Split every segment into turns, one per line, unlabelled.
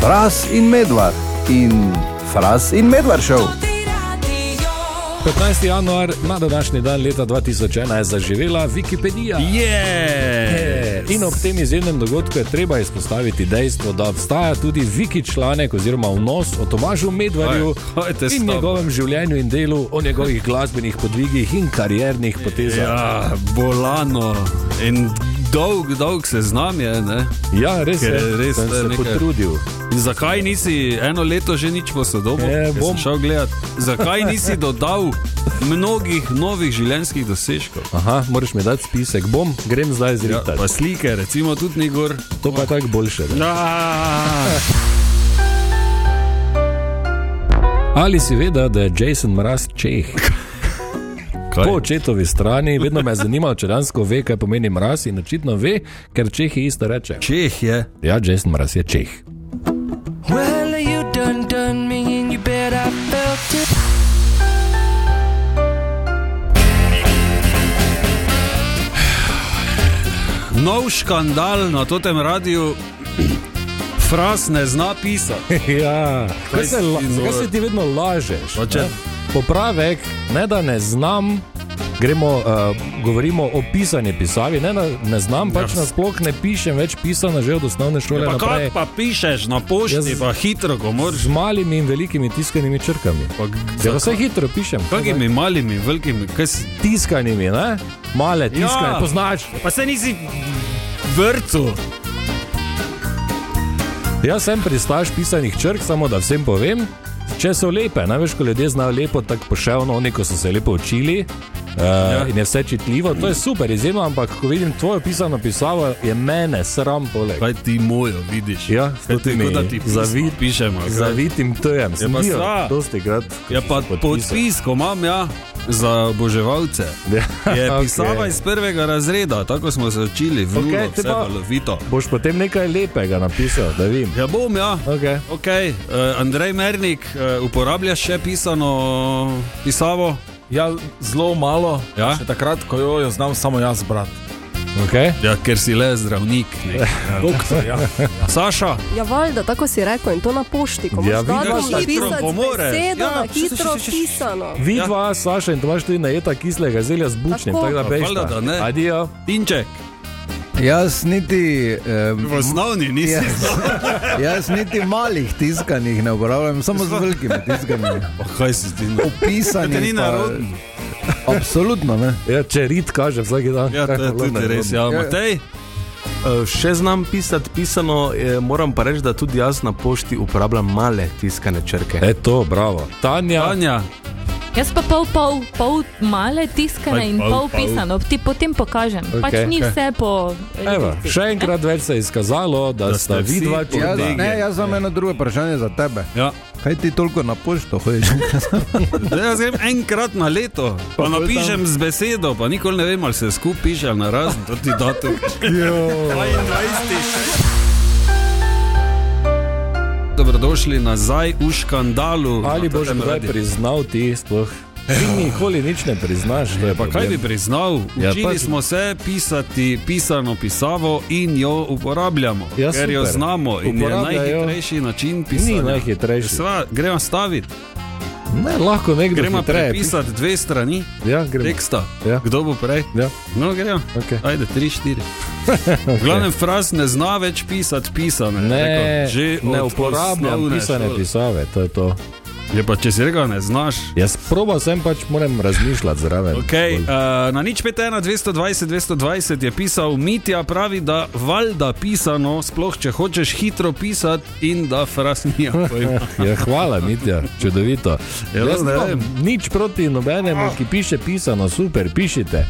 Fras in medvard in Fras in medvard šel.
Ti radio,
15. januar na današnji dan leta 2001 je zaživela Wikipedija.
Je!
In ob tem izjemnem dogodku je treba izpostaviti dejstvo, da obstaja tudi viki članek oziroma vnos o Tomažu Medvarju
Aj, ajte
in
stop.
njegovem življenju in delu, o njegovih glasbenih podvigih in kariernih potezah.
Ja, bolano in dolg, dolg se znam je. Ne?
Ja, res
Ker je
je,
res
sem
to je
se
nekaj-
potrudil.
In zakaj nisi eno leto že nič posodobil?
E,
Ker sem
bom.
Šel gledat. Zakaj nisi dodal mnogih novih življenjskih dosežkov?
Aha, moraš mi dati spisek, bom, grem zdaj
Ja,
zrihtati.
pa slike, recimo tudi ni gor. Ja.
to pa je tako boljše. Ne? Ali si vedel, da je Jason Mraz Čeh?
Kaj?
Po očetovi strani, vedno me je zanimalo, če dejansko ve, kaj pomeni mraz in očitno ve, ker Čehi isto reče.
Čeh je.
Ja, Jason Mraz je Čeh.
Well, you done done me, and you bet I felt it.
Nov škandal na tem radiju. Fras ne zna pisati.
Ja,
Kaj
kaj se, la,
si nor?
zakaj se ti vedno lažeš?
Pa če-
ne? Popravek, ne da ne znam. Gremo, uh, govorimo o pisanju pisavi, ne, da ne znam, pač
Ja.
nasploh ne pišem več pisanja, že od osnovne šole
Pa
Ja, naprej.
kaj pa pišeš na pošti,
Jaz-
Jaz... pa hitro, ko moraš.
Z malimi in velikimi tiskanimi črkami.
Pa,
Ja, pa vse hitro pišem.
Kakimi malimi, velikimi, kaj si
Tiskanimi, ne? Male, tiskane,
Ja.
ja. poznaš.
Pa se nisi vrtu.
Jaz sem pristaš pisanih črk, samo da vsem povem. Če so lepe, največ, ko ljudje znajo lepo, tako poševno, oni ko so se lepo učili uh, ja. in je vse čitljivo, to je super, izjemno, ampak ko vidim tvojo pisano pisavo, je mene sram poleg.
Kaj ti mojo vidiš?
Ja,
Kaj
s totimi
tako, da ti
zavi-
zavid pišemo. kaj?
Zavitim tujem, sem
pa
bil
sra.
dosti krat.
Ja, pa podpis, ko imam, ja, za oboževalce.
Ja,
Je
okej.
pisava iz prvega razreda, tako smo se učili, v
Okej,
okay,
te
vse
pa-
valovito.
Boš potem nekaj lepega napisal, da vem.
Ja, bom, ja.
Okay.
Ok, uh, Andrej Mernik, uh, uporabljaš še pisano pisavo?
Ja, zelo malo.
Ja?
Še takrat, ko jo, jo znam samo jaz, brat.
Okay.
Ja, ker si le zdravnik. nek.
Doktor, ja.
Saša,
Ja, valjda, tako si rekel in to na pošti, ko
Ja,
imaš
vidiš,
datum
da hitro
napisan,
pomore.
besedo
Ja,
na
še, še,
hitro
še, še, še.
pisano.
Vi
Ja.
ja. dva, Saša in Tomaš, tudi najeta kislega zelja z bučnim,
Tako.
tako da
Ja,
peš.
valjda, da ne.
Adijo.
Tinček,
Jaz niti, eh,
v osnovni nisi.
jaz, jaz niti malih tiskanih ne uporabljam, samo z velikimi tiskanimi.
Pa Kaj si ti? no?
Pisani.
Te ni
pa-
narodno.
Absolutno ne.
Ja, če rit kaže vsak dan.
Ja, to je
kako
tudi
lahko
res, ja,
Ja.
Matej.
Eh, Še znam pisati pisano, eh, moram pa reči, da tudi jaz na pošti uporabljam male tiskane črke.
E to, bravo. Tanja,
Anja,
Jaz pa pol, pol, pol male tiskane
Kaj
in
pol,
pol
pol?
pisano, ti potem pokažem. Okay, pač
Okej.
ni vse po.
evo, še enkrat več se je izkazalo, da,
Da
da
ste
sta
vsi
vidva
Jaz,
čudna.
Ja, ne, jaz imam eno drugo vprašanje za tebe.
ja.
Kaj ti toliko na pošto hočeš?
Da Jaz grem enkrat na leto, pa napišem z besedo, pa nikoli ne vem, ali se skupaj piše ali na razen, to ti datum. 22. Dobrodošli nazaj v škandalu. No,
Ali
na
boš
tem
kdaj
radiu.
priznal ti sploh? Ti nikoli nič ne priznaš. to je
Pa kaj
problem.
bi priznal?
Ja,
Učili
pač-
smo se pisati pisano pisavo in jo uporabljamo,
Ja,
ker jo
super.
znamo in je
Uporabljajo.
najhitrejši način pisanja.
Ni najhitrejši.
Sva, gremo staviti,
Ne, lahko nekdo
gremo
hitreje
prepisati dve strani
piše. Ja, gremo.
teksta.
Ja.
Kdo bo prej?
Ja.
No, gremo.
Okay.
Ajde, tri, štiri. V glavnem, fraz ne zna več pisati pisane.
Ne,
Tako, že
ne
od
uporabljam
osnovne
pisane
šole.
pisave, to je to.
Je pa če si rekel, ne znaš.
Jaz probal sem pač, moram razmišljati zraven.
Okay, uh, na nič 51, 220, 220 je pisal Mitja, pravi, da valjda pisano, sploh če hočeš hitro pisati in da fraz ni.
Ja, hvala, Mitja, čudovito.
Ja,
Jaz
ne
nimam
vem.
nič proti nobenemu, ki piše pisano, super, pišite.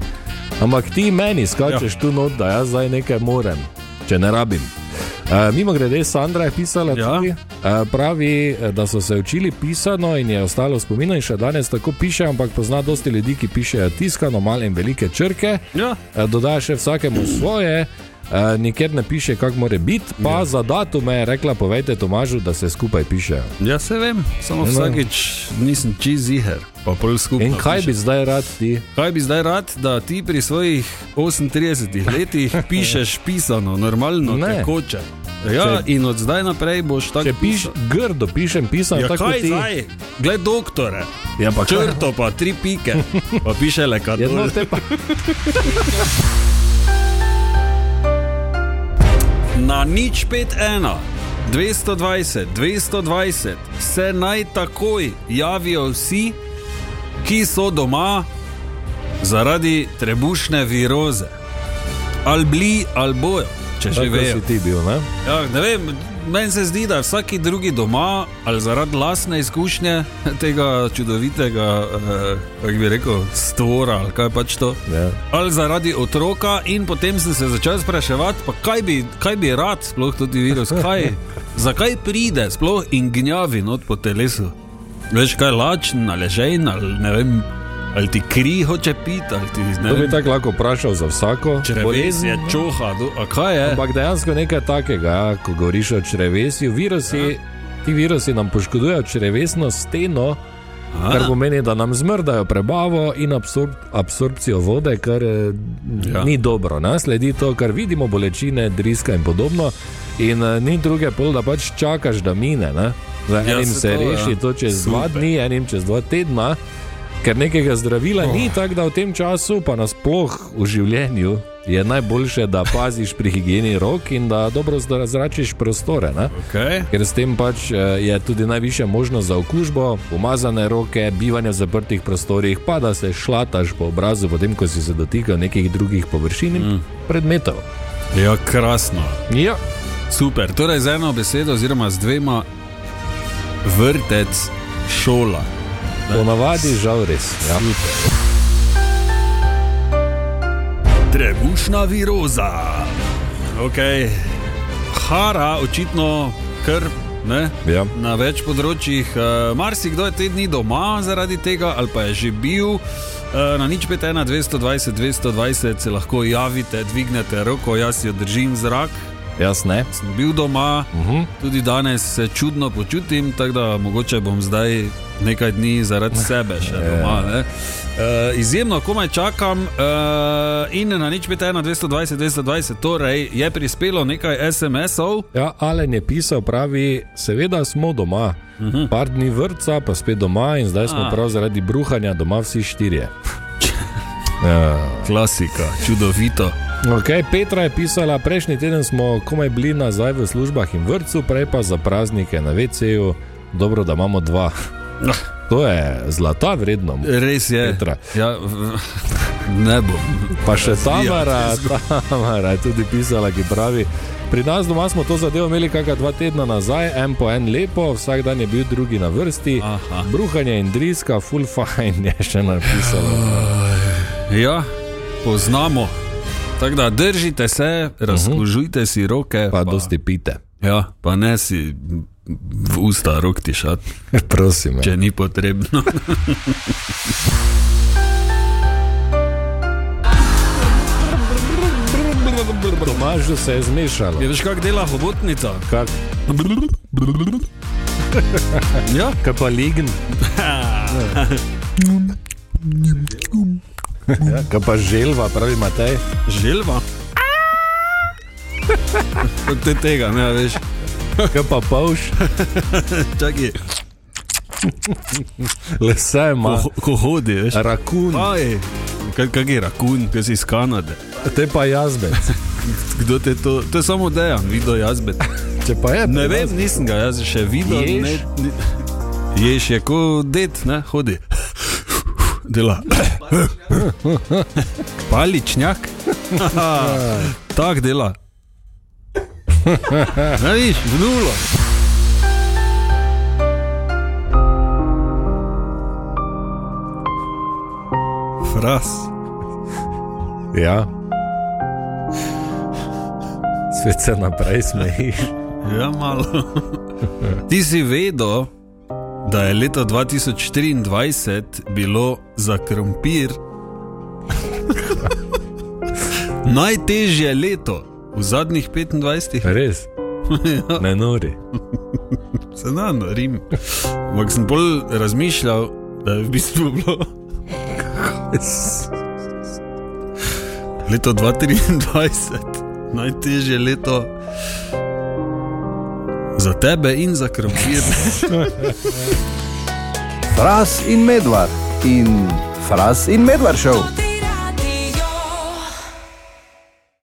Ampak ti meni skačeš ja. tu not, da jaz zdaj nekaj morem, če ne rabim. Uh, mimo grede, Sandra je pisala,
Ja.
ja. tudi, uh, pravi, eh, da so se učili pisano in je ostalo v spominu, in še danes tako piše, ampak pozna dosti ljudi, ki pišejo tiskano, male in velike črke.
Ja,
Eh, dodaja še vsakemu svoje. Uh, nikjer ne piše, kako mora biti, pa ja. za datume je rekla: Povejte Tomažu, da se skupaj pišejo.
ja, se vem, samo vsakič nisem čez ziger, pa pol skupaj.
In kaj bi zdaj rad ti?
Kaj bi zdaj rad, da ti pri svojih 38 letih pišeš pisano, normalno,
Ne.
tekoče? Ja, in od zdaj naprej boš tako
Če piš, grdo pišem pisano,
Ja,
tako
kaj
kot ti.
zdaj? Glej, doktore.
Ja, ampak
Črto pa, tri pike. Pa piše le, kaj
Jedno te pa.
Na nič 5-1, 220, 220 se naj takoj javijo vsi, ki so doma zaradi trebušne viroze. Ali bili, ali bojo, če že
Tako
vejo.
si ti bil, ne?
Ja, ne vem, meni se zdi, da je vsaki drugi doma ali zaradi lastne izkušnje tega čudovitega, eh, kako bi rekel, stvora ali kaj pač to.
Ja.
Ali zaradi otroka, in potem sem se začel spraševati, pa kaj bi, kaj bi rad, sploh tudi virus, kaj, zakaj pride sploh in gnjavi not po telesu. Veš kaj, lačen, naležen, ali ne vem, ali ti kri hoče piti, ali ti ne
To bi
vem.
tako lahko vprašal za vsako.
Črevez je čoha, do- a kaj je?
Ampak dejansko nekaj takega, ja, ko govoriš o črevesju,
Ja.
virusi, ti virusi nam poškodujejo črevesno steno,
A.
kar pomeni, da nam zmrdajo prebavo in absorb, absorpcijo vode, kar eh,
Ja.
ni dobro. Ne? Sledi to, kar vidimo, bolečine, driska in podobno. In eh, ni druge pol, da pač čakaš, da mine. Ne? Zdaj,
Ja,
enim
se
se
to, ja.
reši to čez Super. dva dni, enim čez dva tedna. Ker nekega zdravila oh. ni, tako da v tem času, pa nasploh v življenju, je najboljše, da paziš pri higieni rok in da dobro zdra- zračiš prostore. Ne?
Okay.
Ker s tem pač eh, je tudi najvišja možnost za okužbo, umazane roke, bivanje v zaprtih prostorih, pa da se šlataš po obrazu, potem ko si se dotikal nekih drugih površin in mm. predmetov.
Ja, krasno.
Ja,
Super, torej z eno besedo, oziroma z dvema, vrtec, šola.
ponavadi žal res. Ja.
Trebušna viroza. Okay. Hara, očitno kar ne,
Ja.
na več področjih. Uh, Marsikdo je te dni doma zaradi tega, ali pa je že bil. Uh, na nič 51, 220, 220 se lahko javite, dvignete roko, jaz jo držim zrak.
Jaz ne.
Sem bil doma,
Uh -huh.
Tudi danes se čudno počutim, tako da mogoče bom zdaj nekaj dni zaradi sebe še doma. ne. E, izjemno komaj čakam e, in na nič 51, 220, 220, torej je prispelo nekaj SMS-ov.
Ja, Alen je pisal, pravi, seveda smo doma, uh -huh. par dni vrca, pa spet doma in zdaj smo
A.
A. prav zaradi bruhanja doma vsi štirje. Ja.
Klasika, čudovito.
Okay, Petra je pisala, prejšnji teden smo komaj bili nazaj v službah in vrtu, prej pa za praznike na VC-ju, dobro, da imamo dva.
No. E.
To je zlata vredno.
Res je.
Petra.
Ja, v- ne bom.
Pa še
Razvija
Tamara, Tamara je tudi pisala, ki pravi, pri nas doma smo to zadevo imeli kakšna dva tedna nazaj, en po en lepo, vsak dan je bil drugi na vrsti.
Aha.
Bruhanje in driska, full fajn je še napisala.
Ja, poznamo. Tako da držite se, razkužujte si roke.
Pa dosti pite.
ja, pa ne si v usta rok tišat.
Prosim. ja.
če ni potrebno.
Tomažu se je zmešalo.
Je Ja, veš, kako dela hobotnica?
Kak,
Ja,
kaj pa lign? Ja, kaj pa želva, pravi Matej.
želva. Kot te tega, ne veš,
Kaj pa polš,
čakaj,
lese ima,
ko, ko hodi, veš.
rakun,
Aj, kaj, kaj je rakun, kaj si iz Kanade.
te pa jazbec.
Kdo te to, to je samo dejan, videl jazbet.
Če pa je,
Ne vem, nisem ga jaz še videl.
Ješ?
Ne, ni, ješ je kot det, ne, hodi. Dela. Paličnjak. Tak dela. Ne viš, vnulo. Fras.
Ja. Svet se naprej smeji.
Ja, malo. Ti si vedel, da je leta 2023 bilo za krompir najtežje leto v zadnjih 25.
Res. Ne nori.
Se na norim. Ampak sem bolj razmišljal, da je v bistvu bilo. Leto 2023, najtežje leto Za tebe in za krompir.
Fras in medvard in Fras in medvard šel.